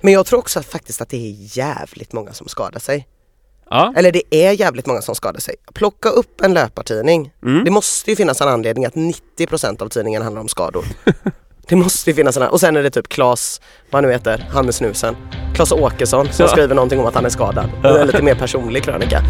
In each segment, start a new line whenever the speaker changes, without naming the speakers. Men jag tror också att faktiskt att det är jävligt många som skadar sig.
Ja,
Eller det är jävligt många som skadar sig. Plocka upp en löpartidning.
Mm.
Det måste ju finnas en anledning att 90% av tidningen handlar om skador. det måste ju finnas en Och sen är det typ Klas, vad han nu heter, han med snusen. Klas Åkesson som
Ja.
skriver någonting om att han är skadad. Det är en lite mer personlig krönika.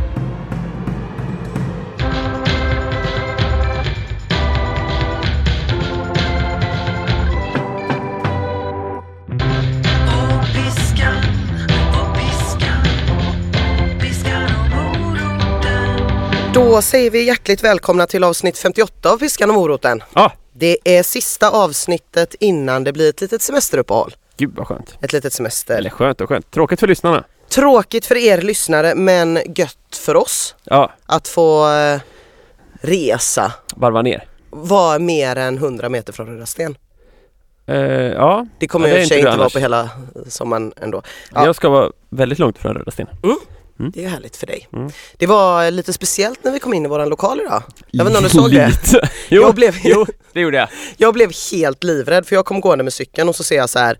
Då säger vi hjärtligt välkomna till avsnitt 58 av Piskan och moroten.
ah,
Det är sista avsnittet innan det blir ett litet semesteruppehåll.
gud vad skönt.
Ett litet semester.
Eller skönt och skönt. Tråkigt för lyssnarna.
Tråkigt för er lyssnare men gött för oss
Ja,
att få eh, resa.
varva ner.
Var mer än 100 meter från Rödasten.
Eh, ja,
Det kommer
Ja,
ju i
det är
och för sig
inte du
inte vara
annars.
på hela eh, sommaren ändå. Ja.
jag ska vara väldigt långt från Röda Sten.
Det är ju härligt för dig.
Mm.
Det var eh, lite speciellt när vi kom in i våran lokal idag. Jag vet inte om du såg det?
Lite. Jo,
Jag blev,
jo, det gjorde jag.
jag blev helt livrädd för jag kom gående med cykeln och så ser jag så här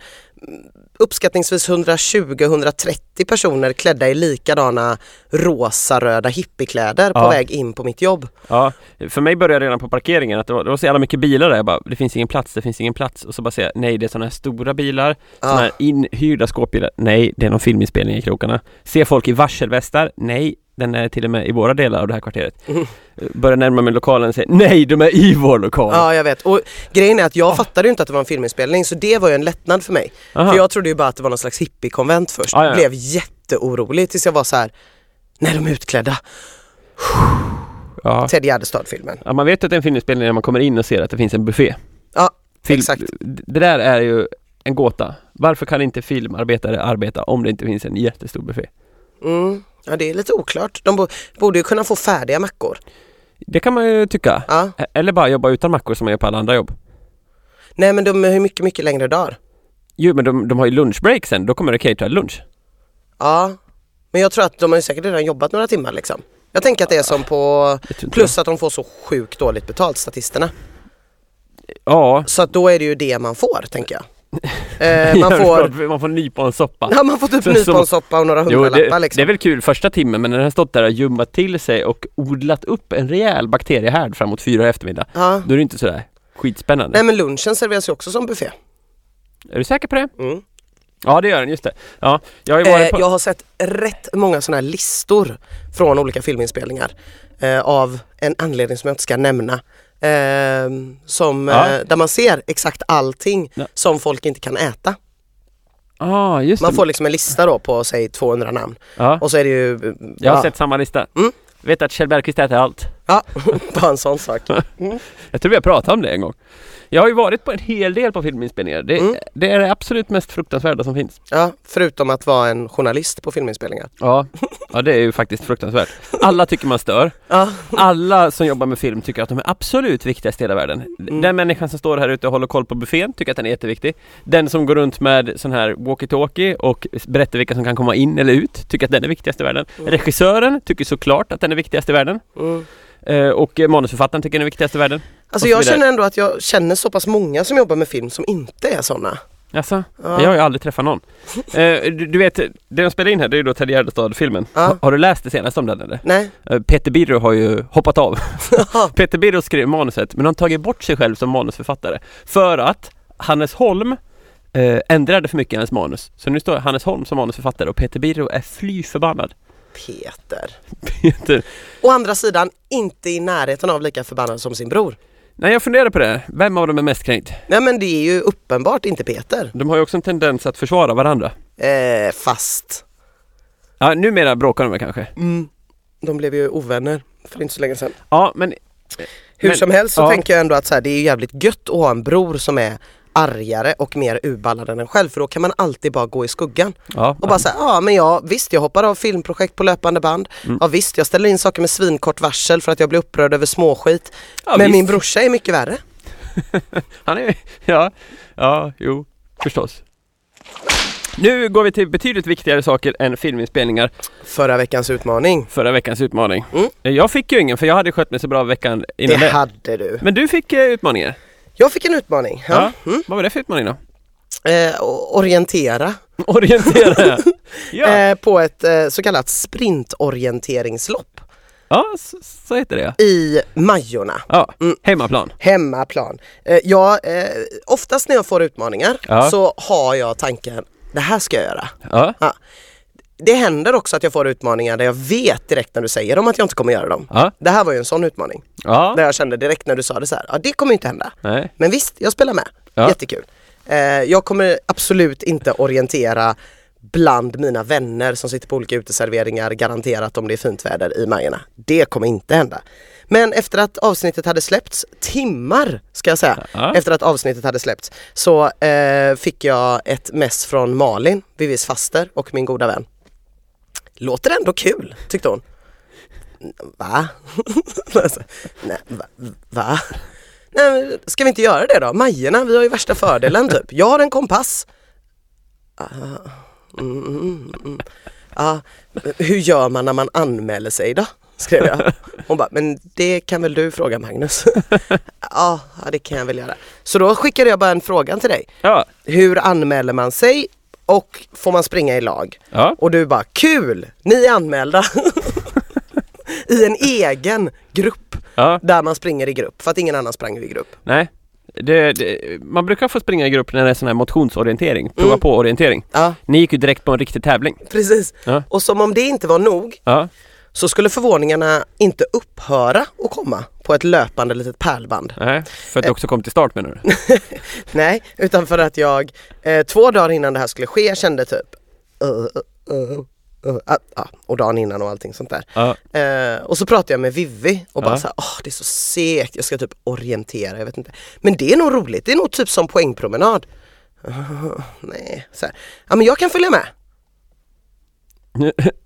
mm, uppskattningsvis 120-130 personer klädda i likadana rosa-röda hippiekläder på
Ja.
väg in på mitt jobb.
Ja, för mig började det redan på parkeringen att det var, det var så jävla mycket bilar där. Jag bara, det finns ingen plats, det finns ingen plats. Och så bara säger jag, nej det är sådana här stora bilar,
Ja.
sådana här inhyrda skåpbilar. Nej, det är någon filminspelning i krokarna. Ser folk i varselvästar? Nej, den är till och med i våra delar av det här kvarteret.
Mm.
Börjar närma mig lokalen och säger, nej de är i vår lokal.
Ja jag vet och grejen är att jag fattade ju inte att det var en filminspelning så det var ju en lättnad för mig.
Aha.
För jag trodde ju bara att det var någon slags hippiekonvent först.
Ja, ja, ja.
Blev jätteorolig tills jag var så här. när de är utklädda.
ja.
Ted Gärdestad-filmen.
Ja, man vet att det är en filminspelning när man kommer in och ser att det finns en buffé.
Ja,
Film-
exakt.
Det där är ju en gåta. Varför kan inte filmarbetare arbeta om det inte finns en jättestor buffé?
Mm. Ja det är lite oklart. De bo- borde ju kunna få färdiga mackor.
Det kan man ju tycka.
Ja.
E- Eller bara jobba utan mackor som man gör på alla andra jobb.
Nej men de har ju mycket, mycket längre dagar.
Jo men de, de har ju lunchbreak sen, då kommer det caterad lunch.
Ja. Men jag tror att de har ju säkert redan jobbat några timmar liksom. Jag tänker att det är som på
Jag tror inte
Plus att de får så sjukt dåligt betalt, statisterna.
det. Ja.
Så att då är det ju det man får, tänker jag. Eh, man
Ja,
får
man får nyponsoppa.
Ja man får typ
Så-
nyponsoppa och några
Jo,
hundralappar
det, det
liksom.
är väl kul första timmen men när den har stått där och ljummat till sig och odlat upp en rejäl bakteriehärd framåt fyra i eftermiddag,
Ja.
då är det inte sådär skitspännande.
Nej men lunchen serveras ju också som buffé.
Är du säker på det?
Mm.
Ja det gör den, just det. Ja, jag har ju
Eh,
varit på...
jag har sett rätt många sådana här listor från olika filminspelningar eh, av en anledning som jag inte ska nämna. Eh, som,
Ja.
eh, där man ser exakt allting
Ja.
som folk inte kan äta.
ah, just
Man
det.
får liksom en lista då på säg 200 namn.
Ja.
Och så är det ju... eh,
Jag har
ja,
sett samma lista.
Mm.
Vet att Kjell Bergqvist äter allt.
Ja, bara en sån sak.
Jag tror vi har pratat om det en gång. Jag har ju varit på en hel del på filminspelningar. Det,
Mm.
det är det absolut mest fruktansvärda som finns.
Ja, förutom att vara en journalist på filminspelningar.
Ja, ja det är ju faktiskt fruktansvärt. Alla tycker man stör.
Ja,
Alla som jobbar med film tycker att de är absolut viktigast i hela världen.
Mm.
Den människan som står här ute och håller koll på buffén tycker att den är jätteviktig. Den som går runt med sån här walkie-talkie och berättar vilka som kan komma in eller ut tycker att den är viktigast i världen. Regissören tycker såklart att den är viktigast i världen.
mm.
Eh, Och eh, manusförfattaren tycker den är viktigast i världen.
Alltså
Och så
jag
vidare.
känner ändå att jag känner så pass många som jobbar med film som inte är sådana.
Jaså?
Ja.
Jag har ju aldrig träffat någon. Eh, du, du vet, det de spelar in här det är ju då Ted Gärdestad-filmen.
Ja.
Ha, har du läst det senaste om den eller?
Nej.
Eh, Peter Birro har ju hoppat av. Peter Birro skrev manuset men han har tagit bort sig själv som manusförfattare. För att Hannes Holm eh, ändrade för mycket i hans manus. Så nu står Hannes Holm som manusförfattare och Peter Birro är fly förbannad.
Peter.
Peter.
Å andra sidan inte i närheten av lika förbannad som sin bror.
Nej jag funderar på det, vem av dem är mest kränkt?
Nej men det är ju uppenbart inte Peter.
De har ju också en tendens att försvara varandra.
Eh, fast
Ja, numera bråkar de väl kanske.
de blev ju ovänner för inte så länge sedan.
Ja, men
Hur
Men-
som helst så
ja.
tänker jag ändå att så här, det är ju jävligt gött att ha en bror som är argare och mer uballad än en själv för då kan man alltid bara gå i skuggan
ja,
och bara säga ja men ja visst jag hoppar av filmprojekt på löpande band. Ja visst jag ställer in saker med svinkort varsel för att jag blir upprörd över småskit.
ja,
men
visst.
min brorsa är mycket värre.
Han är ja, ja, jo, förstås. Nu går vi till betydligt viktigare saker än filminspelningar.
Förra veckans utmaning.
Förra veckans utmaning.
Mm.
Jag fick ju ingen för jag hade skött mig så bra veckan innan
det
det.
hade du.
Men du fick eh, utmaningar.
Jag fick en utmaning. Ja. Mm.
Vad var det för utmaning då?
eh, orientera
Orientera! Ja,
eh, på ett eh, så kallat sprintorienteringslopp
ja så, så heter det
i Majorna.
ja.
Mm.
Hemmaplan.
Hemmaplan. Eh, jag, eh, oftast när jag får utmaningar
Ja.
så har jag tanken, det här ska jag göra.
Ja.
Ja. Det händer också att jag får utmaningar där jag vet direkt när du säger dem att jag inte kommer göra dem.
Ja.
Det här var ju en sån utmaning.
Ja.
Där jag kände direkt när du sa det så här, ja det kommer ju inte hända.
Nej.
Men visst, jag spelar med.
Ja.
Jättekul. Eh, jag kommer absolut inte orientera bland mina vänner som sitter på olika uteserveringar garanterat om det är fint väder i Majerna. Det kommer inte hända. Men efter att avsnittet hade släppts, timmar ska jag säga,
Ja.
efter att avsnittet hade släppts så eh, fick jag ett mess från Malin, Vivis faster och min goda vän. Låter ändå kul, tyckte hon. Va? Alltså, Nej, va? va? Nej, men ska vi inte göra det då? Majerna, vi har ju värsta fördelen typ. Jag har en kompass. Ah, mm, mm, mm. Ah, hur gör man när man anmäler sig då? Skrev jag. Hon bara, men det kan väl du fråga Magnus? Ja, ja, det kan jag väl göra. Så då skickade jag bara en fråga till dig.
Ja.
Hur anmäler man sig och får man springa i lag?
Ja.
Och du bara kul, ni är anmälda. I en egen grupp
ja.
där man springer i grupp för att ingen annan sprang i grupp.
Nej. Det, det, man brukar få springa i grupp när det är sån här motionsorientering, prova
Mm.
på orientering.
Ja,
Ni gick ju direkt på en riktig tävling.
precis.
Ja.
Och som om det inte var nog
Ja.
så skulle förvåningarna inte upphöra att komma på ett löpande litet pärlband.
Nej. Eh. För att du också kom till start menar du?
Nej, utan för att jag eh, två dagar innan det här skulle ske kände typ uh, uh, uh, ah, ah, och dagen innan och allting sånt där.
Ja.
Eh, och så pratade jag med Vivi och bara
Ja.
så här, åh det är så segt, jag ska typ orientera, jag vet inte. Men det är nog roligt, det är nog typ som poängpromenad. "Ah, nej, så här. Ja men jag kan följa med.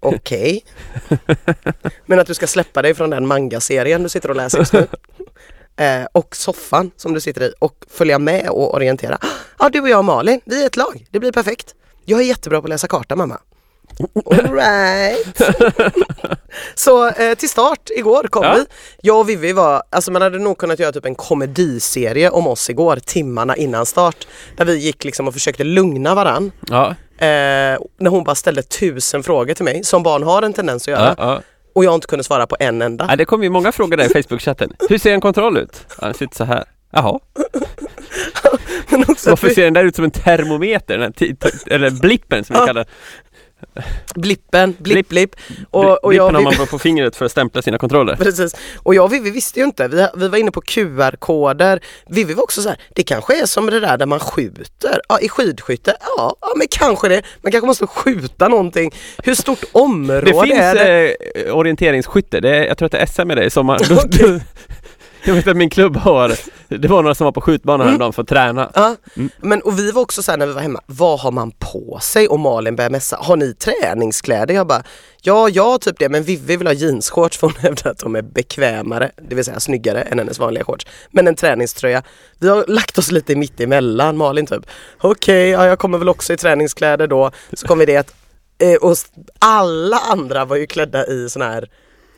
Okej. men att du ska släppa dig från den mangaserien du sitter och läser just nu. Eh, och soffan som du sitter i och följa med och orientera. Ja, ah, du och jag och Malin, vi är ett lag. Det blir perfekt. Jag är jättebra på att läsa karta mamma. All right. Så eh, till start igår kom
Ja.
vi. Jag och Vivi var, alltså man hade nog kunnat göra typ en komediserie om oss igår, timmarna innan start. Där vi gick liksom och försökte lugna varann.
Ja.
Eh, när hon bara ställde tusen frågor till mig, som barn har en tendens att göra.
Ja. ja.
Och jag inte kunde svara på en enda.
ja. Det kom ju många frågor där i Facebook-chatten. Hur ser en kontroll ut? Ja, den ser ut så här. Jaha.
Men också att
Varför
vi-
ser den där ut som en termometer? Den här ti- t- eller blippen som vi
Ja.
kallar
Blippen, blipp,
Blipp.
blipp. Och, och,
blippen
jag,
har
och
man
Vivi,
bara på fingret för att stämpla sina kontroller.
precis. och jag och Vivi visste ju inte. Vi, vi var inne på QR-koder. Vivi var också så här, det kanske är som det där där man skjuter. Ja, i skidskytte. Ja, ja, men kanske det. Man kanske måste skjuta någonting. Hur stort område
Det finns
är det?
eh, orienteringsskytte, det är, jag tror att det är SM i det i sommar. Då- då- jag vet att min klubb har, det var några som var på skjutbanan häromdagen för att träna.
Mm. Ja.
Mm.
Men, och vi var också så här när vi var hemma, vad har man på sig? Och Malin började messa, har ni träningskläder? Jag bara, ja jag har typ det men Vivi vill ha jeansshorts för hon hävdar att de är bekvämare, det vill säga snyggare än hennes vanliga shorts. Men en träningströja, vi har lagt oss lite mitt emellan Malin typ, okej ja, jag kommer väl också i träningskläder då. Så kom vi det att, eh, och s- alla andra var ju klädda i såna här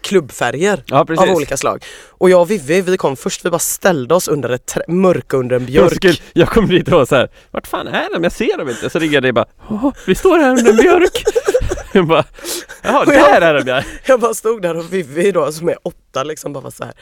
klubbfärger
Ja, precis.
av olika slag. Och jag och Vivi, vi kom först, vi bara ställde oss under ett trä- mörke under en
Jag,
björk.
skulle, jag kom dit och var så här, vart fan är de? Jag ser dem inte. Så ringer jag dig bara, "Åh, vi står här under en björk. Jag bara, jaha, där är de ja.
Jag bara stod där och Vivi då som är åtta liksom bara var så här.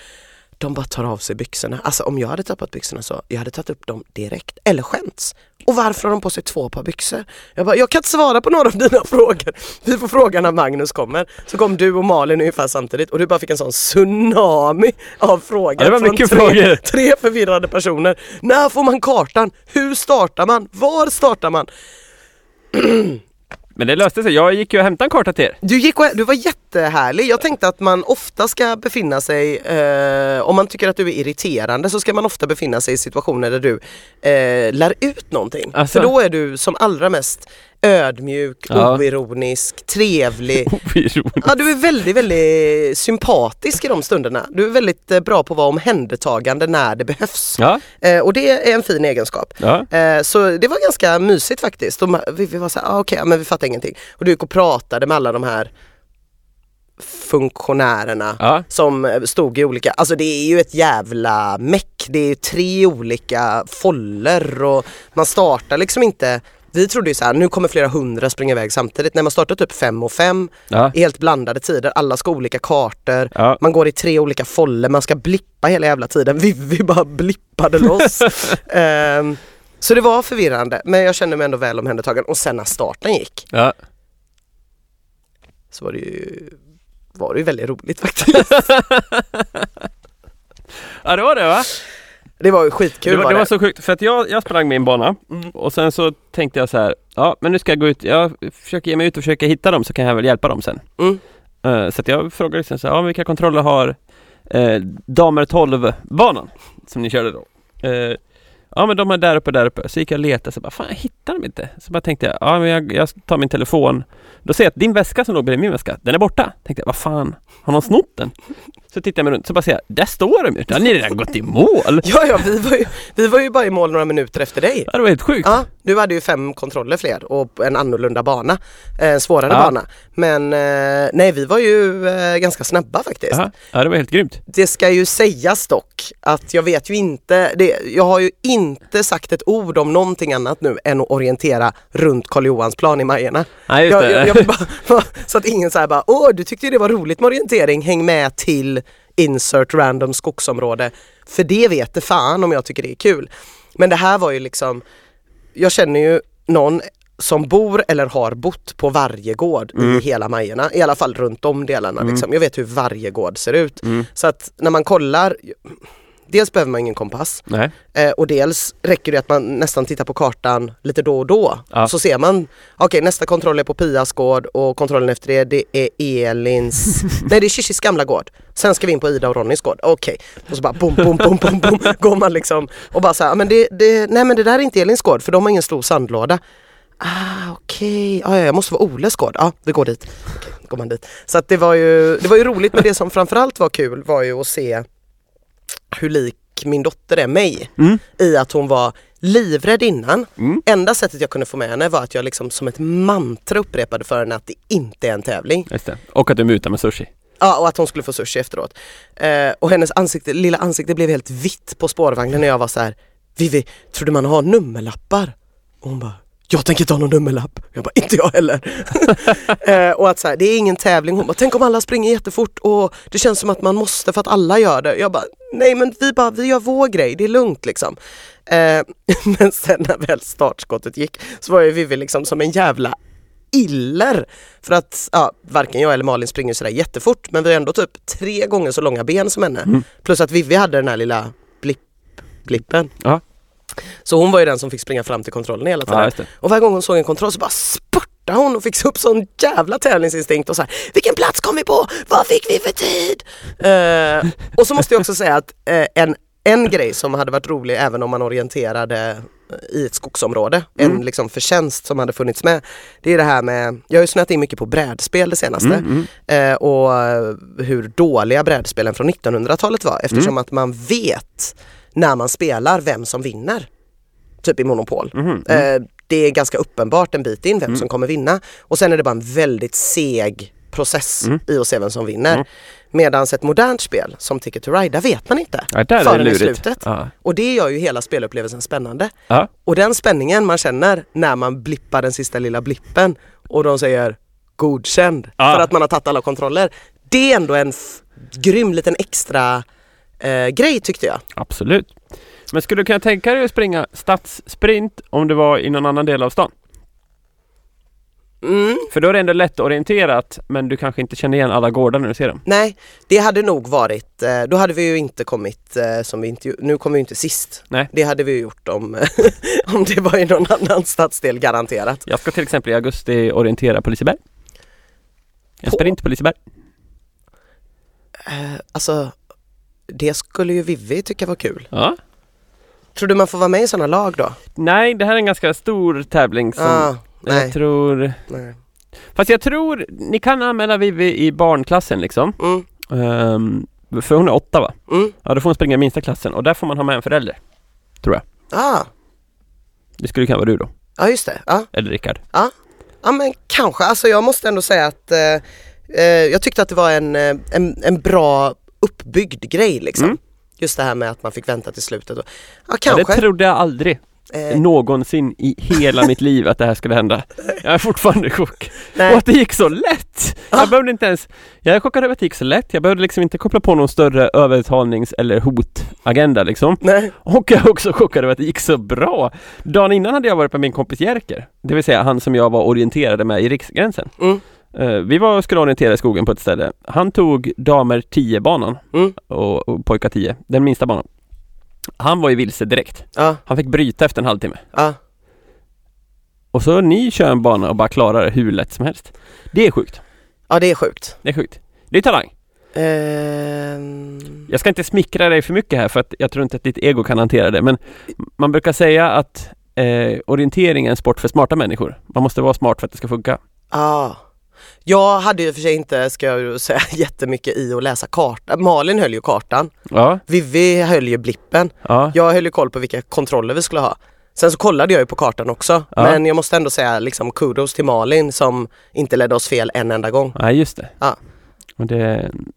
De bara tar av sig byxorna. Alltså om jag hade tappat byxorna så, jag hade tagit upp dem direkt. Eller skämts. Och varför har de på sig två par byxor? Jag bara, jag kan inte svara på några av dina frågor. Vi får fråga när Magnus kommer. Så kom du och Malin ungefär samtidigt och du bara fick en sån tsunami av frågor.
Ja, det var
från
mycket
tre,
frågor.
tre förvirrade personer. När får man kartan? Hur startar man? Var startar man?
Men det löste sig, jag gick ju och hämtade en karta till er.
Du, gick och, du var jättehärlig. Jag tänkte att man ofta ska befinna sig, eh, om man tycker att du är irriterande så ska man ofta befinna sig i situationer där du eh, lär ut någonting.
Alltså.
För då är du som allra mest ödmjuk,
Ja.
oironisk, trevlig.
Oh, Oironiskt.
Ja, du är väldigt, väldigt sympatisk i de stunderna. Du är väldigt eh, bra på att vara omhändertagande när det behövs.
Ja,
Eh, och det är en fin egenskap.
ja,
Eh, Så det var ganska mysigt faktiskt. Och ma- vi, vi var så här, ah, okej, ja, men vi fattar ingenting. Och du gick och pratade med alla de här funktionärerna
Ja.
som eh, stod i olika, alltså det är ju ett jävla meck. Det är ju tre olika foller och man startar liksom inte vi trodde ju så här, nu kommer flera hundra springa iväg samtidigt. När man startar typ fem och fem,
Ja.
i helt blandade tider, alla ska ha olika kartor,
Ja.
man går i tre olika foller, man ska blippa hela jävla tiden. Vi, vi bara blippade loss. Ehm, så det var förvirrande, men jag kände mig ändå väl omhändertagen. Och sen när starten gick
Ja.
så var det ju, var det ju väldigt roligt faktiskt.
ja, det var det va?
Det var ju skitkul
det var, det Mm. var
det.
så sjukt, för att jag, jag sprang min bana och sen så tänkte jag så här, ja men nu ska jag gå ut, jag försöker ge mig ut och försöka hitta dem så kan jag väl hjälpa dem sen.
Mm.
Eh, så att jag frågade liksom så här, ja, men vilka kontroller har eh, damer 12-banan som ni körde då? Eh, ja men de är där uppe, där uppe. Så gick jag och letade, så bara, fan jag hittar dem inte. Så bara tänkte jag, ja men jag, jag tar min telefon. Då ser jag att din väska som låg bredvid min väska, den är borta. Tänkte jag, vad fan, har någon snott den? Så tittar jag mig runt, så bara ser jag, där står de ju! Där har ni redan gått i mål!
Ja, ja, vi var, ju, vi var ju bara i mål några minuter efter dig.
Ja, Det var helt sjukt!
Ja, du hade ju fem kontroller fler och en annorlunda bana, Eh, en svårare
Ja.
bana. Men eh, nej, vi var ju eh, ganska snabba faktiskt.
Jaha. Ja, det var helt grymt.
Det ska ju sägas dock att jag vet ju inte, det, jag har ju inte sagt ett ord om någonting annat nu än att orientera runt Karl Johans plan i Majerna.
Nej, just
Jag,
det.
jag, jag vill bara, så att ingen säger bara, åh du tyckte ju det var roligt med orientering, häng med till insert random skogsområde. För det vet det fan om jag tycker det är kul. Men det här var ju liksom, jag känner ju någon som bor eller har bott på varje gård
Mm.
i hela Majerna, i alla fall runt de delarna. Liksom. Jag vet hur varje gård ser ut.
Mm.
Så att när man kollar, dels behöver man ingen kompass
Nej.
eh, och dels räcker det att man nästan tittar på kartan lite då och då.
Ja.
Så ser man, okej nästa kontroll är på Pias gård och kontrollen efter det, det är Elins, nej det är Shishis gamla gård. Sen ska vi in på Ida och Ronnys gård, okej. Och så bara bom, bom, bom, bom, bom, går man liksom och bara så här, "Ja, men det, det, nej men det där är inte Elins gård för de har ingen stor sandlåda. Ah okej, ah, ja, jag måste vara Oles gård. Ja, vi går dit. Okej, då går man dit. Så att det var ju, det var ju roligt men det som framförallt var kul var ju att se hur lik min dotter är mig
Mm.
i att hon var livrädd innan.
Mm.
Enda sättet jag kunde få med henne var att jag liksom som ett mantra upprepade för henne att det inte är en tävling.
Just det. Och att du mutar med sushi.
Ja, och att hon skulle få sushi efteråt. Eh, och hennes ansikte, lilla ansikte blev helt vitt på spårvagnen när jag var så här, Vivi, trodde man har nummerlappar? Och hon bara, jag tänker inte ha någon nummerlapp. Jag bara, inte jag heller. eh, och att så här, det är ingen tävling. Hon bara, tänk om alla springer jättefort och det känns som att man måste för att alla gör det. Jag bara, nej men vi bara, vi gör vår grej, det är lugnt liksom. Eh, men sen när väl startskottet gick så var ju Vivi liksom som en jävla iller. För att ja, varken jag eller Malin springer sådär jättefort men vi har ändå typ tre gånger så långa ben som henne. Plus att Vivi hade den här lilla blipp, blippen.
Ja.
Så hon var ju den som fick springa fram till kontrollen hela tiden.
Ja, just det.
Och varje gång hon såg en kontroll så bara spurtade hon och fick upp sån jävla tävlingsinstinkt och så här, vilken plats kom vi på? Vad fick vi för tid? Eh, och så måste jag också säga att eh, en, en grej som hade varit rolig även om man orienterade eh, i ett skogsområde,
Mm.
en liksom förtjänst som hade funnits med. Det är det här med, jag har ju snöat in mycket på brädspel det senaste
Mm,
eh, och eh, hur dåliga brädspelen från 1900-talet
Mm.
var eftersom att man vet när man spelar vem som vinner typ i Monopol.
Mhm,
Eh, det är ganska uppenbart en bit in
Mm.
vem som kommer vinna och sen är det bara en väldigt seg process
Mm.
i att se vem som vinner. Medan ett modernt spel som Ticket to Ride, där vet man inte
Ja, där är det
förrän i
lurigt.
slutet.
Ja.
Och det gör ju hela spelupplevelsen spännande.
Ja.
Och den spänningen man känner när man blippar den sista lilla blippen och de säger godkänd
Ja.
för att man har tagit alla kontroller. Det är ändå en f- grym liten extra eh, grej tyckte jag.
Absolut. Men skulle du kunna tänka dig att springa stadssprint om det var i någon annan del av stan?
Mm.
För då är det ändå lättorienterat men du kanske inte känner igen alla gårdar när du ser dem.
Nej, det hade nog varit, eh, då hade vi ju inte kommit eh, som vi inte, nu kommer vi ju inte sist.
Nej.
Det hade vi ju gjort om, om det var i någon annan stadsdel garanterat.
Jag ska till exempel i augusti orientera på Liseberg. En
På-
sprint på Liseberg.
Eh, Alltså, det skulle ju Vivi tycka var kul.
Ja.
Tror du man får vara med i sådana lag då?
Nej, det här är en ganska stor tävling som
ah, nej.
jag tror...
nej.
Fast jag tror, ni kan anmäla Vivi i barnklassen liksom.
Mm,
Ehm, för hon är åtta va?
mm.
Ja, då får hon springa i minsta klassen och där får man ha med en förälder.
Ah,
Det skulle kunna vara du då,
ja just det. Ja,
eller Rickard.
ja men kanske. Alltså jag måste ändå säga att eh, eh, jag tyckte att det var en, eh, en, en bra uppbyggd grej liksom.
Mm.
Just det här med att man fick vänta till slutet. Och, ja
Ja, det
kanske.
trodde jag aldrig
eh,
någonsin i hela mitt liv att det här skulle hända. Jag är fortfarande i chock.
nej. Ah.
Och att det gick så lätt! Jag behövde inte ens, jag är chockad över att det gick så lätt. Jag behövde liksom inte koppla på någon större övertalnings eller hotagenda liksom.
Nej.
Och jag är också chockad över att det gick så bra. Dagen innan hade jag varit med min kompis Jerker, det vill säga han som jag var orienterade med i Riksgränsen.
Mm.
Eh, Vi var och skulle orientera i skogen på ett ställe. Han tog damer 10-banan
Mm.
och, och pojkar 10, den minsta banan. Han var ju vilse direkt.
Ja,
Han fick bryta efter en halvtimme.
ja.
Och så ni kör en bana och bara klarar det hur lätt som helst. Det är sjukt.
ja, det är sjukt.
Det är sjukt. Det är talang.
Ehm,
Jag ska inte smickra dig för mycket här för att jag tror inte att ditt ego kan hantera det men man brukar säga att eh, orientering är en sport för smarta människor. Man måste vara smart för att det ska funka.
Ja. Jag hade ju för sig inte, ska jag ju säga, jättemycket i att läsa kartan. Malin höll ju kartan.
Ja,
Vivi höll ju blippen.
ja,
Jag höll ju koll på vilka kontroller vi skulle ha. Sen så kollade jag ju på kartan också.
Ja.
Men jag måste ändå säga liksom kudos till Malin som inte ledde oss fel en enda gång.
ja just det.
Ja.
Och det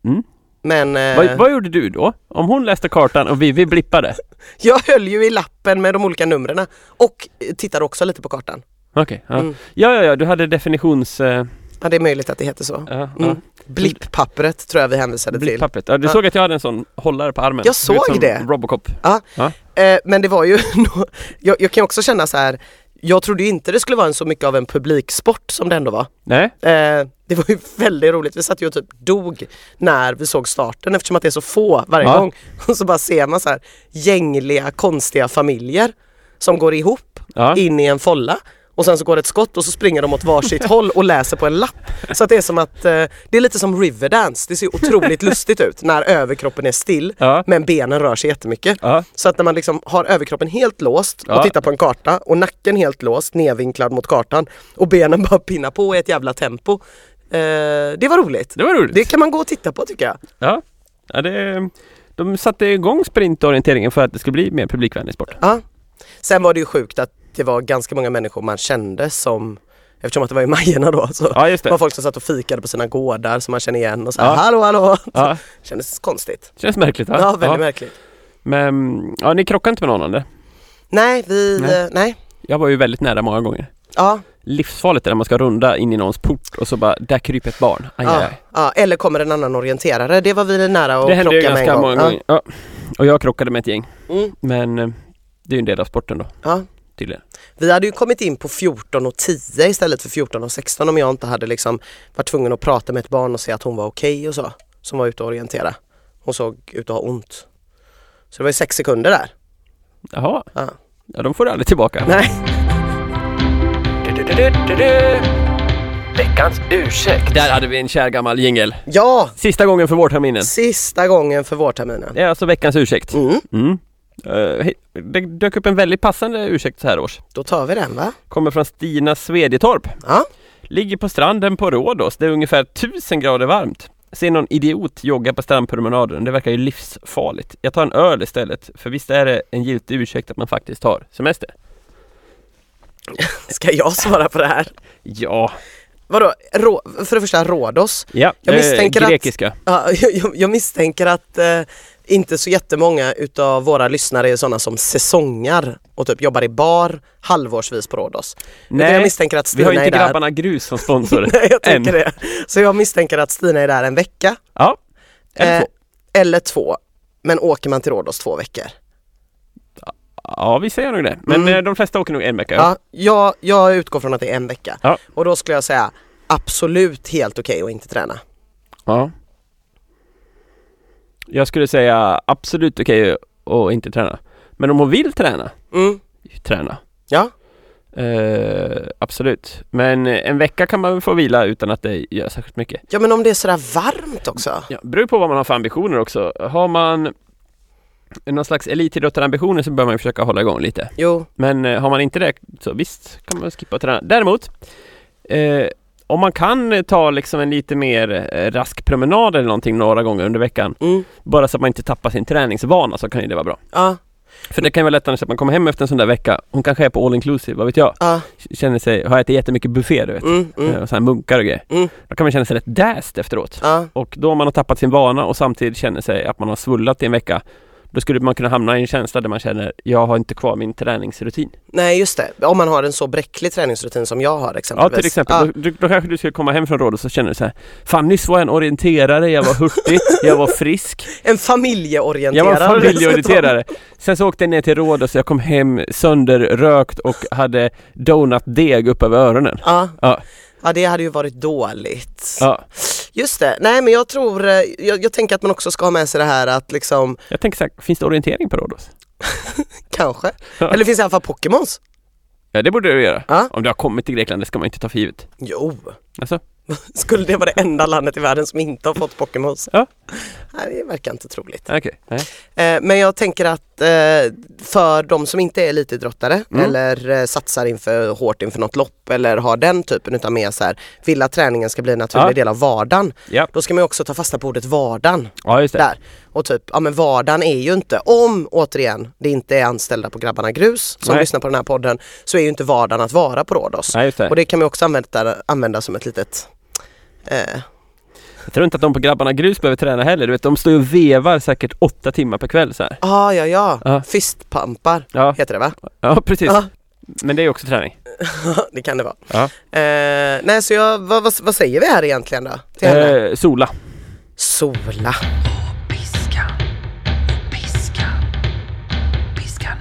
mm.
Men eh,
vad, vad gjorde du då? Om hon läste kartan och vi, vi blippade?
jag höll ju i lappen med de olika numren och eh, tittade också lite på kartan.
Okej. ja.
Mm.
ja, ja, ja, du hade definitions... Eh,
Ja, det är möjligt att det heter så.
ja, ja.
Mm. Blipppappret tror jag vi hänvisade till.
Blipppappret. Ja, du
Ja.
såg att jag hade en sån hållare på armen?
Jag
Ser ut
såg
som
det.
Robocop.
Eh, men det var ju, nå- jag, jag kan också känna så här, jag trodde ju inte det skulle vara en så mycket av en publiksport som det ändå var.
Nej,
Eh, det var ju väldigt roligt, vi satt ju och typ dog när vi såg starten eftersom att det är så få varje
Ja.
gång. Och så bara ser man så här gängliga konstiga familjer som går ihop
ja.
in i en folla och sen så går det ett skott och så springer de åt varsitt håll och läser på en lapp. Så att det är som att, eh, det är lite som Riverdance, det ser otroligt lustigt ut när överkroppen är still
ja.
men benen rör sig jättemycket.
ja.
Så att när man liksom har överkroppen helt låst
Ja.
och tittar på en karta och nacken helt låst, nedvinklad mot kartan och benen bara pinnar på i ett jävla tempo. Eh, det var roligt.
Det var roligt.
Det kan man gå och titta på tycker jag.
Ja, ja det, de satte igång sprintorienteringen för att det skulle bli mer publikvänlig sport.
Ja. Sen var det ju sjukt att det var ganska många människor man kände som, eftersom att det var i Majerna då, så
Ja, just
det
det.
var folk som satt och fikade på sina gårdar som man känner igen och så här,
Ja.
hallå hallå.
Ja,
Kändes konstigt.
känns märkligt va?
Ja, väldigt märkligt.
Men, ja ni krockar inte med någon eller?
Nej, vi,
Nej.
nej. nej.
Jag var ju väldigt nära många gånger.
Ja,
Livsfarligt är när man ska runda in i någons port och så bara, där kryper ett barn. Aj, aj,
ja,
aj.
ja, eller kommer en annan orienterare. Det var vi nära att
Det hände ju
krocka med en gång.
ganska många
Ja.
gånger. Ja. Och jag krockade med ett gäng.
Mm.
Men eh, det är ju en del av sporten då,
Ja.
tydligen.
Vi hade ju kommit in på 14 och 10 istället för 14 och 16 om jag inte hade liksom varit tvungen att prata med ett barn och säga att hon var okej och så. Som var ute och orientera. Hon såg ut att ha ont. Så det var ju sex sekunder där.
Jaha,
Ja.
ja de får du aldrig tillbaka.
Nej.
Veckans ursäkt. Där hade vi en kär gammal jingel.
Ja,
Sista gången för vårterminen.
sista gången för vårterminen.
Det är alltså veckans ursäkt.
Mm,
Mm. Eh, he- det dök upp en väldigt passande ursäkt så här års.
då tar vi den va?
Kommer från Stina Svedjetorp.
Ja.
Ligger på stranden på Rhodos. Det är ungefär 1000 grader varmt. Ser någon idiot jogga på strandpromenaden. Det verkar ju livsfarligt. Jag tar en öl istället. För visst är det en giltig ursäkt att man faktiskt har semester?
Ska jag svara på det här?
Ja.
Vadå, Rå, för det första Rhodos.
Ja, eh,
Jag misstänker att-
grekiska. att...
Ja, jag, jag misstänker att eh, inte så jättemånga utav våra lyssnare är sådana som säsongar och typ jobbar i bar halvårsvis på Rhodos. Nej, jag
Nej,
misstänker att
vi
Stina
har ju inte
är där.
grabbarna grus som sponsor.
Nej, jag
Än.
tänker det. Så jag misstänker att Stina är där en vecka
Ja. Eller
Eh.
två.
eller två. Men åker man till Rhodos två veckor?
Ja, vi säger nog det. Men
Mm.
eh, de flesta åker nog en vecka.
Ja, jag, jag utgår från att det är en vecka.
Ja.
Och då skulle jag säga absolut helt okej att inte träna.
Ja. Jag skulle säga absolut okej att inte träna. Men om hon vill träna,
Mm.
träna.
Ja.
Eh, absolut. Men en vecka kan man väl få vila utan att det gör särskilt mycket.
ja men om det är sådär varmt också.
Ja, beror på vad man har för ambitioner också. Har man någon slags elitidrottarambitioner så bör man ju försöka hålla igång lite.
Jo,
Men eh, har man inte det så visst kan man skippa att träna. Däremot, eh, om man kan eh, ta liksom en lite mer eh, rask promenad eller någonting några gånger under veckan
mm.
Bara så att man inte tappar sin träningsvana så kan ju det vara bra.
ja.
För det kan ju vara lättare så att man kommer hem efter en sån där vecka, hon kanske är på all inclusive, vad vet jag?
Ja,
Känner sig, har ätit jättemycket buffé du vet, Eh,
mm, mm,
och så här munkar och grejer.
mm,
Då kan man känna sig rätt däst efteråt.
ja.
Och då om man har tappat sin vana och samtidigt känner sig att man har svullat i en vecka Då skulle man kunna hamna i en känsla där man känner Jag har inte kvar min träningsrutin
Nej just det, om man har en så bräcklig träningsrutin som jag har
Ja
exempelvis.
till exempel,
Ja,
Då, du- då kanske du skulle komma hem från rådet och så känner du så här Fan nyss var jag en orienterare, jag var hurtig, jag var frisk
en familjeorienterare.
Jag var familjeorienterare Sen så åkte jag ner till rådet så jag kom hem sönderrökt och hade donutdeg upp över öronen
Ja.
Ja.
ja, det hade ju varit dåligt.
Ja,
Just det, nej men jag tror, eh, jag, jag tänker att man också ska ha med sig det här att liksom,
jag tänker så här, finns det orientering på Rhodos?
kanske,
Ja.
eller finns det i alla fall Pokémons?
Ja det borde du göra
Ja.
Om du har kommit till Grekland, det ska man inte ta för givet
Jo,
alltså,
skulle det vara det enda landet i världen som inte har fått Pokémons?
Ja.
Nej, det verkar inte troligt.
okej, nej
Eh, Men jag tänker att eh, för de som inte är elitidrottare
Mm.
eller eh, satsar inför, hårt inför något lopp eller har den typen utav mer så här, vill att träningen ska bli en naturlig
Ja.
del av vardagen.
Ja,
Då ska man ju också ta fasta på ordet vardagen.
ja just det
Där. Och typ, ja men vardagen är ju inte, om återigen det inte är anställda på Grabbarna Grus som
Nej.
lyssnar på den här podden, så är ju inte vardagen att vara på Rhodos.
Nej, just det.
Och det kan man också använda, använda som ett litet eh,
Jag tror inte att de på Grabbarna Grus behöver träna heller. Du vet, de står ju och vevar säkert åtta timmar per kväll så här.
ah, ja ja,
Ja.
fistpampar
Ja,
heter det va?
ja precis.
Ja.
Men det är ju också träning.
det kan det vara.
Ja.
Eh, nej så jag, vad, vad, vad säger vi här egentligen då? Till henne?
Eh, sola.
Sola.
Piska. Piska. Piska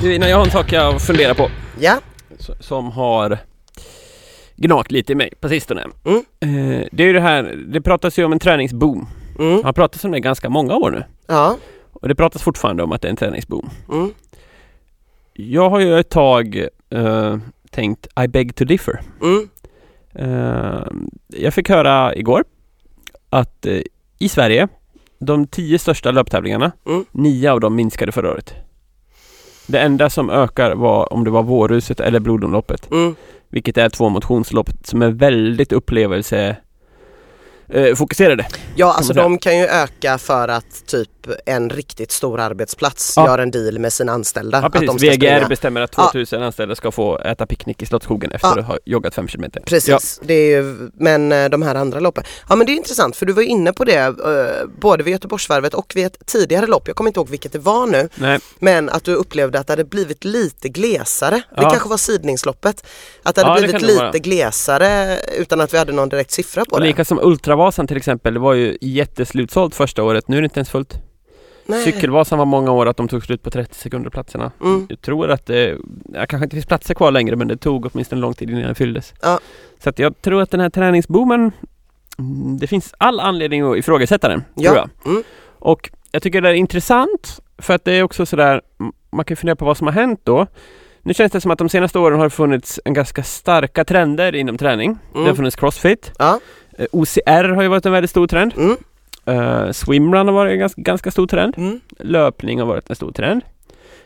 Du, innan jag har en sak jag funderar på
Ja,
s- som har gnagt lite i mig på sistone.
Mm.
Eh, det är ju det här, det pratas ju om en träningsboom.
mm.
Man har pratat om det i ganska många år nu.
ja,
Och det pratas fortfarande om att det är en träningsboom.
mm.
Jag har ju ett tag eh, tänkt I beg to differ.
Mm.
Eh, jag fick höra igår att eh, i Sverige, de tio största löptävlingarna,
Mm.
nio av dem minskade förra året. Det enda som ökar var om det var Vårhuset eller Blodomloppet,
Mm.
vilket är två motionslopp som är väldigt upplevelse eh, fokuserade.
ja alltså
säga.
de kan ju öka för att typ en riktigt stor arbetsplats
Ja.
gör en deal med sina anställda.
Ja,
att de
precis.
ska
VGR
springa.
bestämmer att
Ja.
2000 anställda ska få äta picknick i Slottsskogen efter
Ja.
att ha joggat fem kilometer. Ja.
Precis, det är ju, men eh, de här andra loppen. Ja men det är intressant för du var inne på det eh, både vid Göteborgsvarvet och vid ett tidigare lopp, jag kommer inte ihåg vilket det var nu,
Nej,
Men att du upplevde att det hade blivit lite glesare. Det
Ja.
kanske var sidningsloppet. Att det hade
Ja, det
blivit
kan det
lite
vara.
glesare utan att vi hade någon direkt siffra på
och
det.
lika som Ultravasan till exempel, det var ju jätteslutsålt första året, nu är det inte ens fullt.
Nej.
Cykelvasan var många år att de tog slut på 30 sekunder platserna.
Mm.
Jag tror att det, ja, kanske inte finns platser kvar längre men det tog åtminstone lång tid innan den fylldes.
Ja.
Så att jag tror att den här träningsboomen, mm, det finns all anledning att ifrågasätta den,
Ja.
tror jag.
Mm.
Och jag tycker det är intressant för att det är också sådär, m- man kan ju fundera på vad som har hänt då. Nu känns det som att de senaste åren har det funnits en ganska starka trender inom träning. Det har
Mm.
funnits crossfit.
Ja.
Eh, OCR har ju varit en väldigt stor trend.
Mm.
Eh, swimrun har varit en ganska, ganska stor trend
Mm.
löpning har varit en stor trend.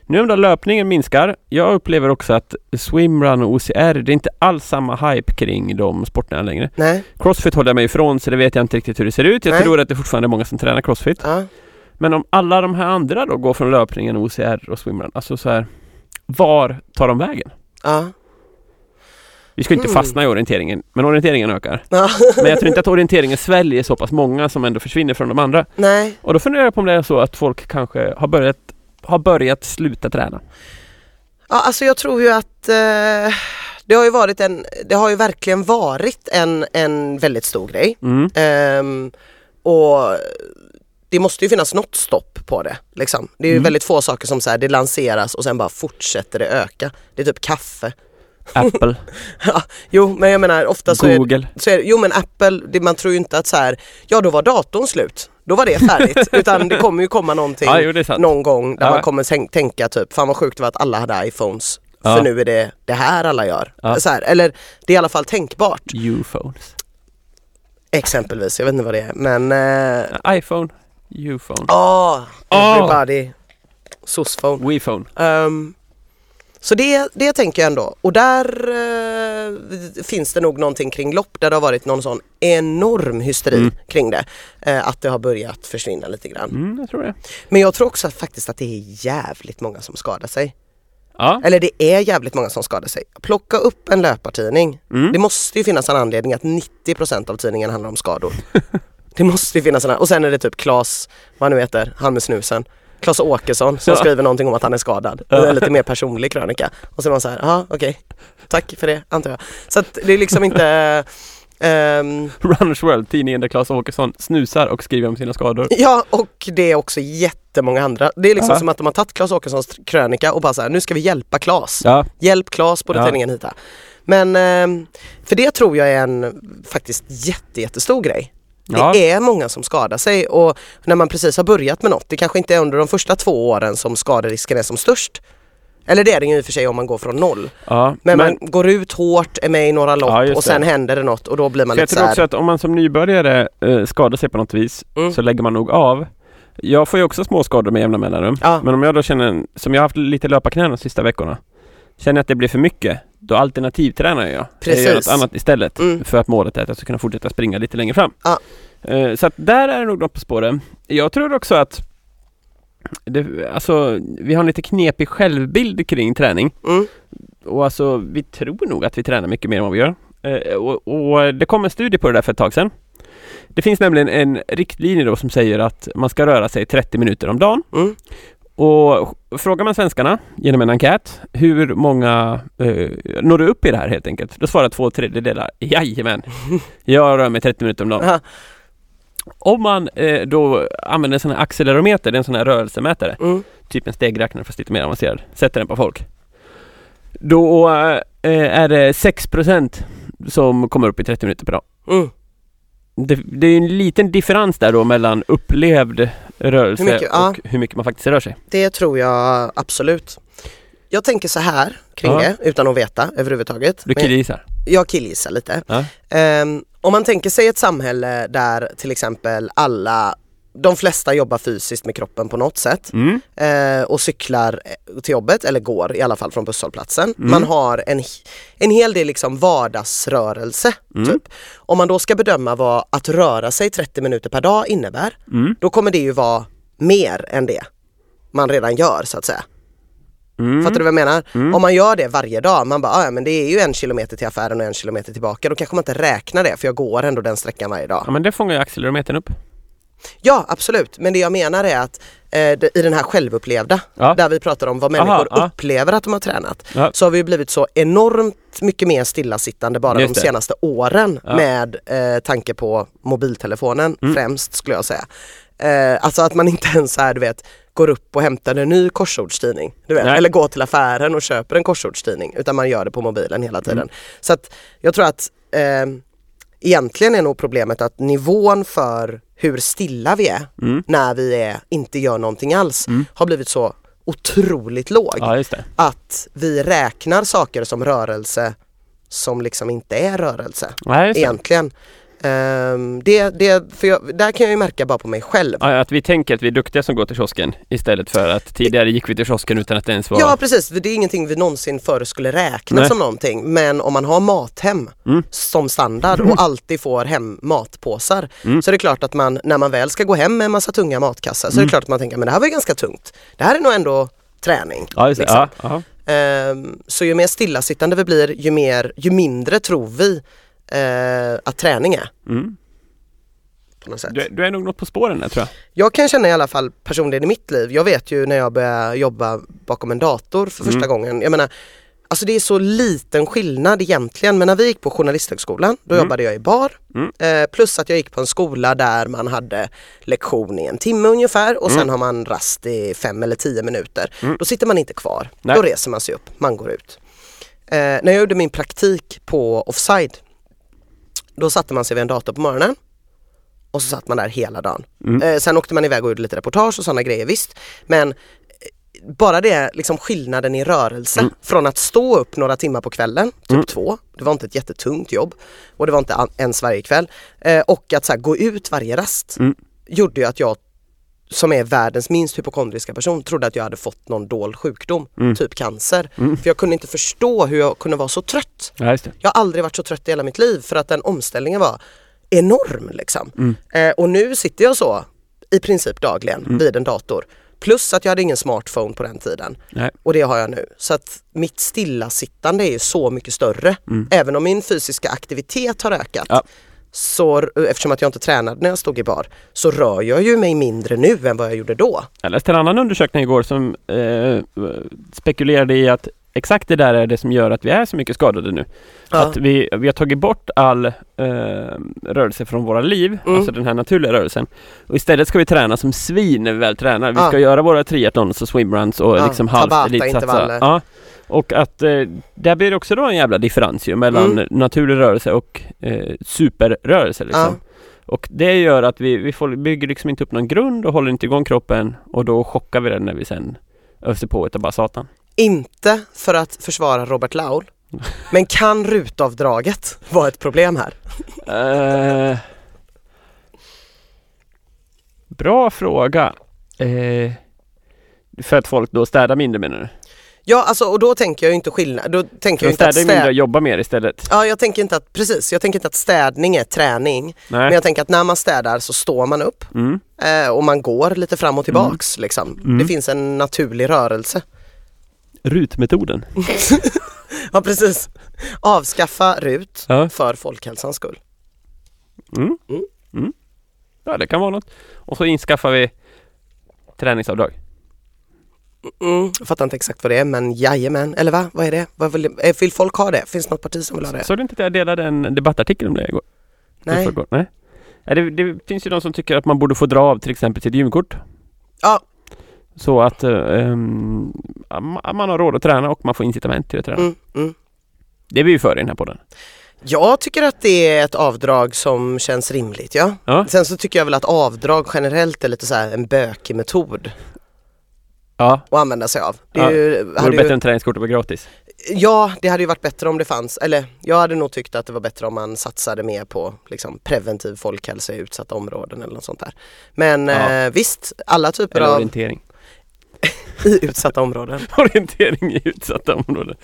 Nu om då löpningen minskar, jag upplever också att swimrun och OCR, det är inte alls samma hype kring de sporterna längre.
Nej.
Crossfit håller jag mig ifrån så det vet jag inte riktigt hur det ser ut. Jag
Nej.
tror att det fortfarande är många som tränar crossfit.
Ja.
Men om alla de här andra då går från löpningen, OCR och swimrun, alltså så här, var tar de vägen?
Ja.
Vi ska ju inte
Mm.
fastna i orienteringen, men orienteringen ökar.
Ja.
Men jag tror inte att orienteringen sväljer så pass många som ändå försvinner från de andra.
Nej.
Och då funderar jag på om det är så att folk kanske har börjat, har börjat sluta träna.
Ja, alltså jag tror ju att eh, det har ju varit en, det har ju verkligen varit en, en väldigt stor grej.
Mm.
Ehm, och det måste ju finnas något stopp på det. Liksom. Det är ju
Mm.
väldigt få saker som så här, det lanseras och sen bara fortsätter det öka. Det är typ kaffe.
Apple,
Ja, jo men jag menar ofta så är,
Google.
så är Jo men Apple, det, man tror ju inte att så här, ja då var datorn slut, då var det färdigt. Utan det kommer ju komma någonting
Ja, jo, det är sant.
någon gång där
Ja.
man kommer tänk- tänka typ, fan vad sjukt det var att alla hade iPhones.
Ja.
För nu är det det här alla gör.
Ja.
Så här, eller det är i alla fall tänkbart
Ufones.
exempelvis, jag vet inte vad det är men eh,
iPhone, Ufone,
ah
Ah.
everybody, soc-phone.
Wefone.
Ehm, Så det, det tänker jag ändå. Och där eh, finns det nog någonting kring lopp där det har varit någon sån enorm hysteri
Mm.
kring det. Eh, att det har börjat försvinna lite grann.
Mm, jag tror det.
Men jag tror också att, faktiskt att det är jävligt många som skadar sig.
Ja.
Eller det är jävligt många som skadar sig. Plocka upp en löpartidning. Det
Mm.
måste ju finnas en anledning att 90% av tidningen handlar om skador. det måste ju finnas en anledning. Och sen är det typ Klas, vad han nu heter, han med snusen. Klas Åkesson som
Ja.
skriver någonting om att han är skadad. Det är en lite mer personlig krönika. Och så är man så här, ja okej, tack för det antar jag. Så att det är liksom inte... ehm,
Runners World, tidningen där Claes Åkesson snusar och skriver om sina skador.
Ja och det är också jättemånga andra. Det är liksom
Ja.
som att de har tagit Klas Åkessons tr- krönika och bara så här, nu ska vi hjälpa Klas.
Ja.
Hjälp Klas borde
Ja.
tidningen hitta. Men ehm, för det tror jag är en faktiskt jätte, jättestor grej. Det
Ja.
är många som skadar sig och när man precis har börjat med något, det kanske inte är under de första två åren som skaderisken är som störst. Eller det är den ju i och för sig om man går från noll.
ja.
Men, man går ut hårt, är med i några lopp
Ja, just
och sen
det.
händer det något och då blir man
Så jag
lite
tror också
såhär.
att om man som nybörjare eh, skadar sig på något vis
Mm.
så lägger man nog av. Jag får ju också små skador med jämna mellanrum.
Ja.
Men om jag då känner, som jag har haft lite löparknän de sista veckorna, känner jag att det blir för mycket, då alternativtränar jag. Jag gör något
Precis.
annat istället
Mm.
för att målet är att jag ska kunna fortsätta springa lite längre fram.
Ja.
Eh, Så att där är det nog något på spåren. Jag tror också att det, alltså, vi har en lite knepig självbild kring träning.
Mm,
Och alltså, vi tror nog att vi tränar mycket mer än vad vi gör. Eh, och, och det kom en studie på det där för ett tag sedan. Det finns nämligen en riktlinje då som säger att man ska röra sig 30 minuter om dagen.
mm,
Och frågar man svenskarna genom en enkät hur många eh, når du upp i det här helt enkelt? Då svarar två tredjedelar Jajamän, jag rör mig 30 minuter om dagen.
aha,
Om man eh, då använder en sån här accelerometer, det är en sån här rörelsemätare
mm.
typ en stegräknare fast lite mer avancerad, sätter den på folk. Då eh, är det 6% som kommer upp i 30 minuter per dag.
Mm.
Det, det är ju en liten differens där då mellan upplevd rörelse
Hur mycket?
och
Ja.
hur mycket man faktiskt rör sig.
Det tror jag absolut. Jag tänker så här kring
Ja.
det utan att veta överhuvudtaget.
Du
Men
killgissar?
jag killgissar lite.
Ja.
Ehm, om man tänker sig ett samhälle där till exempel alla, de flesta jobbar fysiskt med kroppen på något sätt
Mm.
eh, och cyklar eh, till jobbet eller går i alla fall från busshållplatsen.
Mm.
Man har en, h- en hel del liksom vardagsrörelse.
Mm.
Typ. Om man då ska bedöma vad att röra sig 30 minuter per dag innebär,
Mm.
då kommer det ju vara mer än det man redan gör så att säga.
Mm.
Fattar du vad jag menar? Om man gör det varje dag, man bara, "Ah, ja men det är ju en kilometer till affären och en kilometer tillbaka, då kanske man inte räknar det för jag går ändå den sträckan varje dag.
Ja men det fångar ju accelerometern upp.
Ja absolut, men det jag menar är att eh, det- i den här självupplevda,
Ja.
där vi pratar om vad människor
ja.
upplever att de har tränat,
Ja.
så har vi ju blivit så enormt mycket mer stillasittande bara
Just
de
det.
senaste åren
Ja. Mm.
med eh, tanke på mobiltelefonen främst skulle jag säga. Eh, alltså att man inte ens så här, du vet, går upp och hämtar en ny korsordstidning. Du vet,
Nej.
eller går till affären och köper en korsordstidning utan man gör det på mobilen hela tiden.
Mm.
Så att jag tror att eh, egentligen är nog problemet att nivån för hur stilla vi
Mm.
är när vi är, inte gör någonting alls har blivit så otroligt låg
Ja just det.
att vi räknar saker som rörelse som liksom inte är rörelse
Ja, just det.
egentligen. Ehm, det, det, för jag, där kan jag ju märka bara på mig själv.
Ja, att vi tänker att vi är duktiga som går till kiosken istället för att tidigare gick vi till kiosken utan att det ens var...
Ja precis, för det är ingenting vi någonsin förr skulle räkna
Nej. Mm.
som någonting. Men om man har mathem som standard och alltid får hem matpåsar
Mm.
så är det klart att man när man väl ska gå hem med en massa tunga matkassar
Mm.
så är det klart att man tänker men det här var ju ganska tungt. Det här är nog ändå träning.
ja just det.
liksom.
Ja, ja.
Ehm, så ju mer stillasittande vi blir ju, mer, ju mindre tror vi eh, att träning är.
Mm.
På något sätt.
Du, du är nog något på spåren där tror jag.
Jag kan känna i alla fall personligen i mitt liv, jag vet ju när jag började jobba bakom en dator för första gången, jag menar Alltså det är så liten skillnad egentligen men när vi gick på Journalisthögskolan då jobbade jag i bar eh, plus att jag gick på en skola där man hade lektion i en timme ungefär och sen har man rast i fem eller tio minuter. Då sitter man inte kvar,
Nej.
då reser man sig upp, man går ut. Eh, när jag gjorde min praktik på Offside då satte man sig vid en dator på morgonen och så satt man där hela dagen.
Mm.
Eh, sen åkte man iväg och gjorde lite reportage och sådana grejer visst. Men eh, bara det, liksom skillnaden i rörelse
Mm.
från att stå upp några timmar på kvällen, typ två, det var inte ett jättetungt jobb och det var
Mm.
inte an- ens varje kväll. Eh, och att så här, gå ut varje rast gjorde ju att jag som är världens minst hypokondriska person, trodde att jag hade fått någon dold sjukdom,
Mm.
typ cancer.
Mm.
För jag kunde inte förstå hur jag kunde vara så trött.
Ja, just det.
Jag har aldrig varit så trött i hela mitt liv för att den omställningen var enorm liksom.
Mm.
Eh, och nu sitter jag så i princip dagligen vid en dator. Plus att jag hade ingen smartphone på den tiden
Nej.
och det har jag nu. Så att mitt stillasittande är ju så mycket större.
Mm.
Även om min fysiska aktivitet har ökat
Ja.
så, eftersom att jag inte tränade när jag stod i bar så rör jag ju mig mindre nu än vad jag gjorde då.
Jag läste en annan undersökning igår som eh, spekulerade i att exakt det där är det som gör att vi är så mycket skadade nu.
Ja.
Att vi, vi har tagit bort all eh, rörelse från våra liv,
Mm.
alltså den här naturliga rörelsen. Och istället ska vi träna som svin när vi väl tränar. Vi
Ja.
ska göra våra triathlons och swimruns och
Ja,
liksom
Tabata,
halvt elitsatsa.
intervaller.
Ja. Och att eh, där blir det också då en jävla differens ju mellan
Mm.
naturlig rörelse och eh, superrörelse liksom.
Ja.
Och det gör att vi, vi får, bygger liksom inte upp någon grund och håller inte igång kroppen och då chockar vi den när vi sen öser på utav bara satan.
Inte för att försvara Robert Laul, men kan rutavdraget vara ett problem här?
Eh, bra fråga. Eh, för att folk då städar mindre menar du?
Ja, alltså, och då tänker jag ju inte skillnad. Då tänker jag
De
inte att
städar ju mindre och
städ...
jobbar mer istället.
Ja, jag tänker inte att, precis, jag tänker inte att städning är träning. Men
Nej.
jag tänker att när man städar så står man upp
Mm.
eh, och man går lite fram och tillbaks liksom.
Mm.
Det finns en naturlig rörelse.
Rutmetoden.
Ja, precis. Avskaffa RUT
Ja.
för folkhälsans skull.
Mm.
Mm.
Mm. ja, det kan vara något. Och så inskaffar vi träningsavdrag.
Mm. Jag fattar inte exakt vad det är, men jajamän. Eller va? Vad är det? Vad vill, eh, vill folk ha det? Finns det något parti som vill ha det?
Såg du inte att jag delade en debattartikel om det igår?
Nej.
förrgår. Nej. Ja, det, det finns ju de som tycker att man borde få dra av till exempel sitt gymkort.
Ja.
Så att eh, ehm, ja, ma- man har råd att träna och man får incitament till att träna.
Mm, mm.
Det är vi ju för i den här podden.
Jag tycker att det är ett avdrag som känns rimligt, ja.
Ja.
Sen så tycker jag väl att avdrag generellt är lite så här en bökig metod
Ja.
att använda sig av. Det är
Ja.
ju,
Vore
hade
det
ju
bättre än träningskortet var gratis?
Ja, det hade ju varit bättre om det fanns, eller jag hade nog tyckt att det var bättre om man satsade mer på liksom, preventiv folkhälsa i utsatta områden eller något sånt där. Men
Ja.
eh, visst, alla typer
Eller
av
orientering?
i utsatta områden.
orientering i utsatta områden.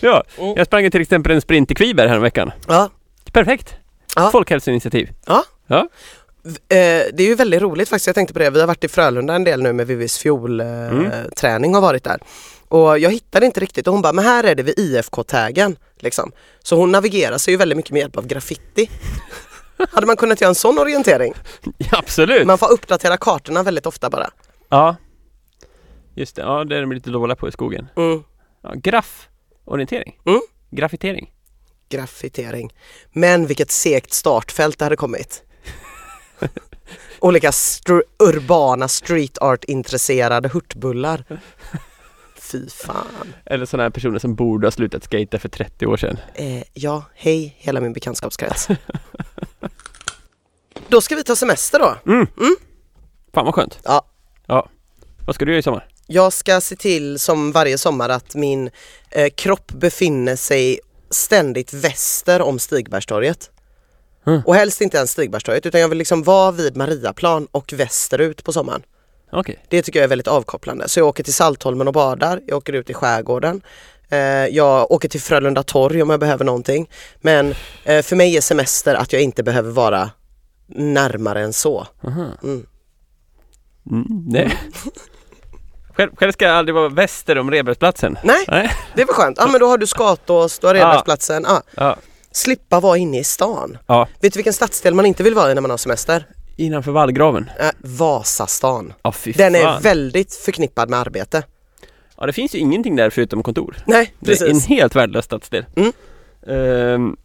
Ja,
Mm.
jag sprang ju till exempel en sprint i Kviberg häromveckan.
Ja.
Perfekt!
Ja.
Folkhälsoinitiativ.
V- Eh, det är ju väldigt roligt faktiskt, jag tänkte på det, vi har varit i Frölunda en del nu med Vivis fjolträning eh,
Mm.
träning har varit där. Och jag hittade inte riktigt och hon bara, men här är det vid IFK-taggen. Liksom. Så hon navigerar sig ju väldigt mycket med hjälp av graffiti. hade man kunnat göra en sån orientering?
Ja, absolut!
Man får uppdatera kartorna väldigt ofta bara.
Ja. Just det, ja det är de lite dåliga på i skogen.
Mm.
Ja, graff-orientering.
Mm.
Graffitering.
graffitering. Men vilket segt startfält det hade kommit. Olika str- urbana street art intresserade hurtbullar. Fy fan.
Eller sådana här personer som borde ha slutat skata för 30 år sedan.
Eh, ja, hej hela min bekantskapskrets. Då ska vi ta semester då.
Fan vad skönt.
Ja.
Ja. Vad ska du göra i sommar?
Jag ska se till som varje sommar att min eh, kropp befinner sig ständigt väster om Stigbergstorget.
Mm.
Och helst inte ens Stigbergstorget utan jag vill liksom vara vid Mariaplan och västerut på sommaren.
Okej.
Det tycker jag är väldigt avkopplande. Så jag åker till Saltholmen och badar, jag åker ut i skärgården. Eh, jag åker till Frölunda torg om jag behöver någonting. Men eh, för mig är semester att jag inte behöver vara närmare än så.
Aha.
Mm.
Mm, nej. själv, själv ska jag aldrig vara väster om Rebergsplatsen.
Nej,
Nej.
det var skönt. Ja men då har du Skatås,
Ah.
du har Redbergsplatsen. Ja.
Ja.
Slippa vara inne i stan.
ja.
Vet du vilken stadsdel man inte vill vara i när man har semester?
Innanför vallgraven.
Eh, Vasastan.
Ja fy
Den är
fan.
väldigt förknippad med arbete.
Ja det finns ju ingenting där förutom kontor.
Nej,
Det är en
precis.
helt värdelös stadsdel.
Mm.
Ehm,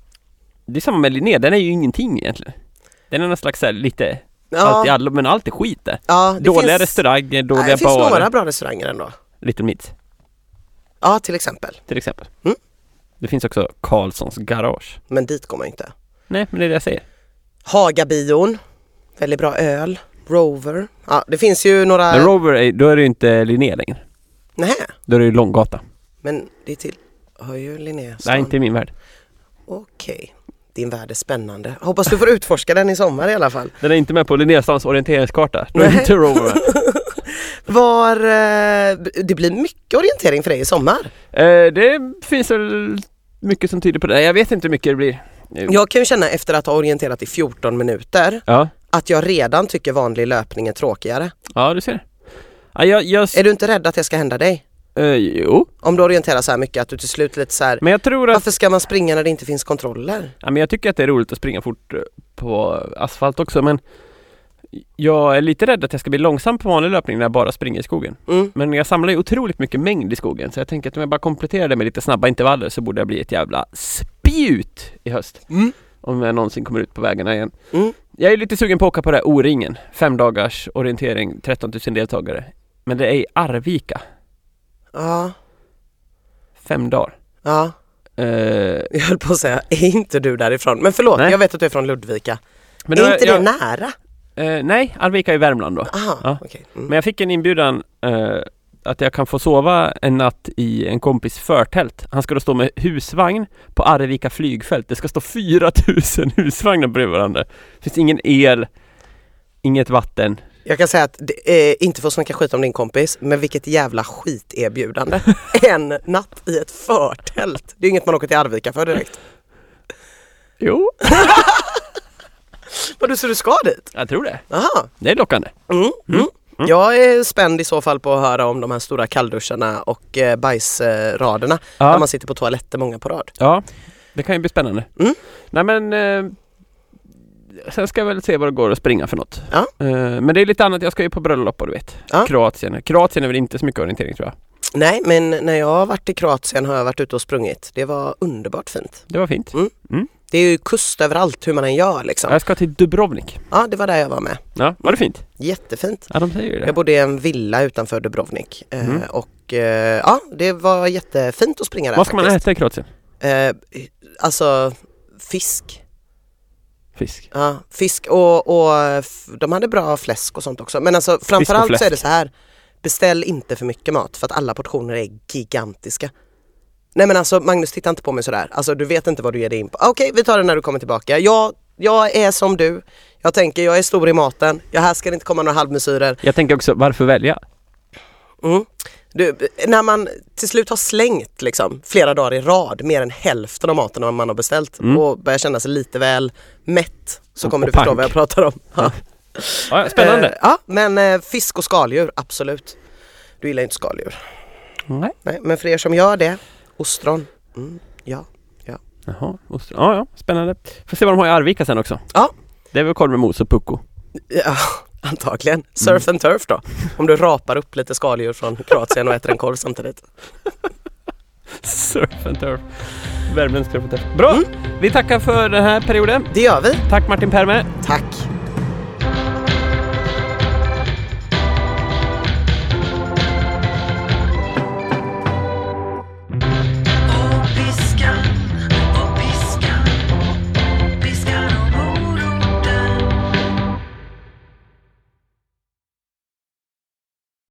det är samma med Linné, den är ju ingenting egentligen. Den är någon slags så här, lite, allt i
Ja,
allo, men allt är skit där.
ja, det
Dåliga
finns,
restauranger,
Nej,
dåliga
Det finns
barer.
några bra restauranger ändå.
Little Meat
Ja, till exempel.
till exempel.
Mm.
Det finns också Karlssons garage.
Men dit går man ju inte.
Nej, men det är det jag säger.
Hagabion, väldigt bra öl. Rover. Ja, det finns ju några...
Men Rover, är, då är det ju inte Linné längre.
Nej,
Då är det ju Långgata.
men det är till... Har ju Linnéstan.
Nej, inte i min värld.
Okej. din värld är spännande. Hoppas du får utforska den i sommar i alla fall.
Den är inte med på Linnéstans orienteringskarta. Då är
Nej.
inte Rover med.
Var, eh, det blir mycket orientering för dig i sommar.
Eh, det finns väl mycket som tyder på det. Nej, Jag vet inte hur mycket det blir. Eh,
Jag kan ju känna efter att ha orienterat i 14 minuter
Ja,
att jag redan tycker vanlig löpning är tråkigare.
ja du ser. Ja, jag, jag,
Är du inte rädd att det ska hända dig?
eh, jo,
Om du orienterar så här mycket att du till slut lite så här,
men jag tror att
varför ska man springa när det inte finns kontroller?
Ja, men jag tycker att det är roligt att springa fort eh, på asfalt också men jag är lite rädd att jag ska bli långsam på vanlig löpning när jag bara springer i skogen.
Mm.
Men jag samlar ju otroligt mycket mängd i skogen så jag tänker att om jag bara kompletterar det med lite snabba intervaller så borde jag bli ett jävla spjut i höst.
Mm.
Om jag någonsin kommer ut på vägarna igen.
Mm.
Jag är lite sugen på att åka på det här O-ringen. Fem dagars orientering, 13 000 deltagare. Men det är i Arvika.
Ja,
Fem dagar.
ja.
Eh,
Jag höll på att säga, är inte du därifrån? Men förlåt,
Nej.
jag vet att du är från Ludvika.
men
är
då-
inte
jag,
det nära?
eh, nej, Arvika är i Värmland då.
Aha,
Ja.
okej. Mm.
Men jag fick en inbjudan eh, att jag kan få sova en natt i en kompis förtält. Han ska då stå med husvagn på Arvika flygfält. Det ska stå 4000 husvagnar bredvid varandra. Det finns ingen el, inget vatten.
Jag kan säga att, det, eh, inte för att snacka skit om din kompis, men vilket jävla skiterbjudande. en natt i ett förtält. Det är ju inget man åker till Arvika för direkt.
Jo,
Vadå, så du ska dit?
jag tror det.
Aha.
Det är lockande.
Mm. Mm. Jag är spänd i så fall på att höra om de här stora kallduscharna och eh, bajsraderna. Där
Ja,
man sitter på toaletter många på rad.
ja det kan ju bli spännande.
Mm.
Nej men eh, Sen ska jag väl se vad det går att springa för något.
Ja.
Eh, men det är lite annat, jag ska ju på bröllop och du vet.
Ja.
Kroatien. Kroatien är väl inte så mycket orientering tror jag.
Nej, men när jag har varit i Kroatien har jag varit ute och sprungit. Det var underbart fint.
Det var fint.
Det är ju kust överallt hur man än gör liksom.
Jag ska till Dubrovnik.
Ja, det var där jag var med.
Ja, var det fint?
Jättefint.
Ja, de säger ju det.
Jag bodde i en villa utanför Dubrovnik eh,
Mm.
och eh, ja, det var jättefint att springa där
Vad ska man
faktiskt.
äta i Kroatien?
Eh, alltså fisk.
Fisk.
Ja, fisk och, och f- de hade bra fläsk och sånt också. Men alltså framförallt så är det
fläsk.
så här, beställ inte för mycket mat för att alla portioner är gigantiska. Nej men alltså Magnus titta inte på mig sådär, alltså du vet inte vad du ger dig in på. Ah, Okej vi tar det när du kommer tillbaka. Jag, jag är som du, jag tänker jag är stor i maten, jag här ska det inte komma några halvmesyrer.
Jag tänker också, varför välja?
Mm. Du, när man till slut har slängt liksom, flera dagar i rad mer än hälften av maten man har beställt
Mm.
och börjar känna sig lite väl mätt så
Och-
kommer
och
du förstå
pank.
vad jag pratar om. Ja.
Ja, ja, spännande.
Eh, ja, men eh, fisk och skaldjur, absolut. Du gillar ju inte skaldjur. Eh.
Nej.
Nej, men för er som gör det, ostron. Mm, ja.
Jaha, ostron. Ja, ja, spännande. Får se vad de har i Arvika sen också.
Ja.
Det är väl korv med mos och pucko.
ja, antagligen. Surf and turf då. Om du rapar upp lite skaldjur från Kroatien och äter en korv samtidigt.
Surf and turf.
Mm.
Värmländsk surf and turf. Bra! Vi tackar för den här perioden.
Det gör vi.
Tack Martin Perme.
Tack.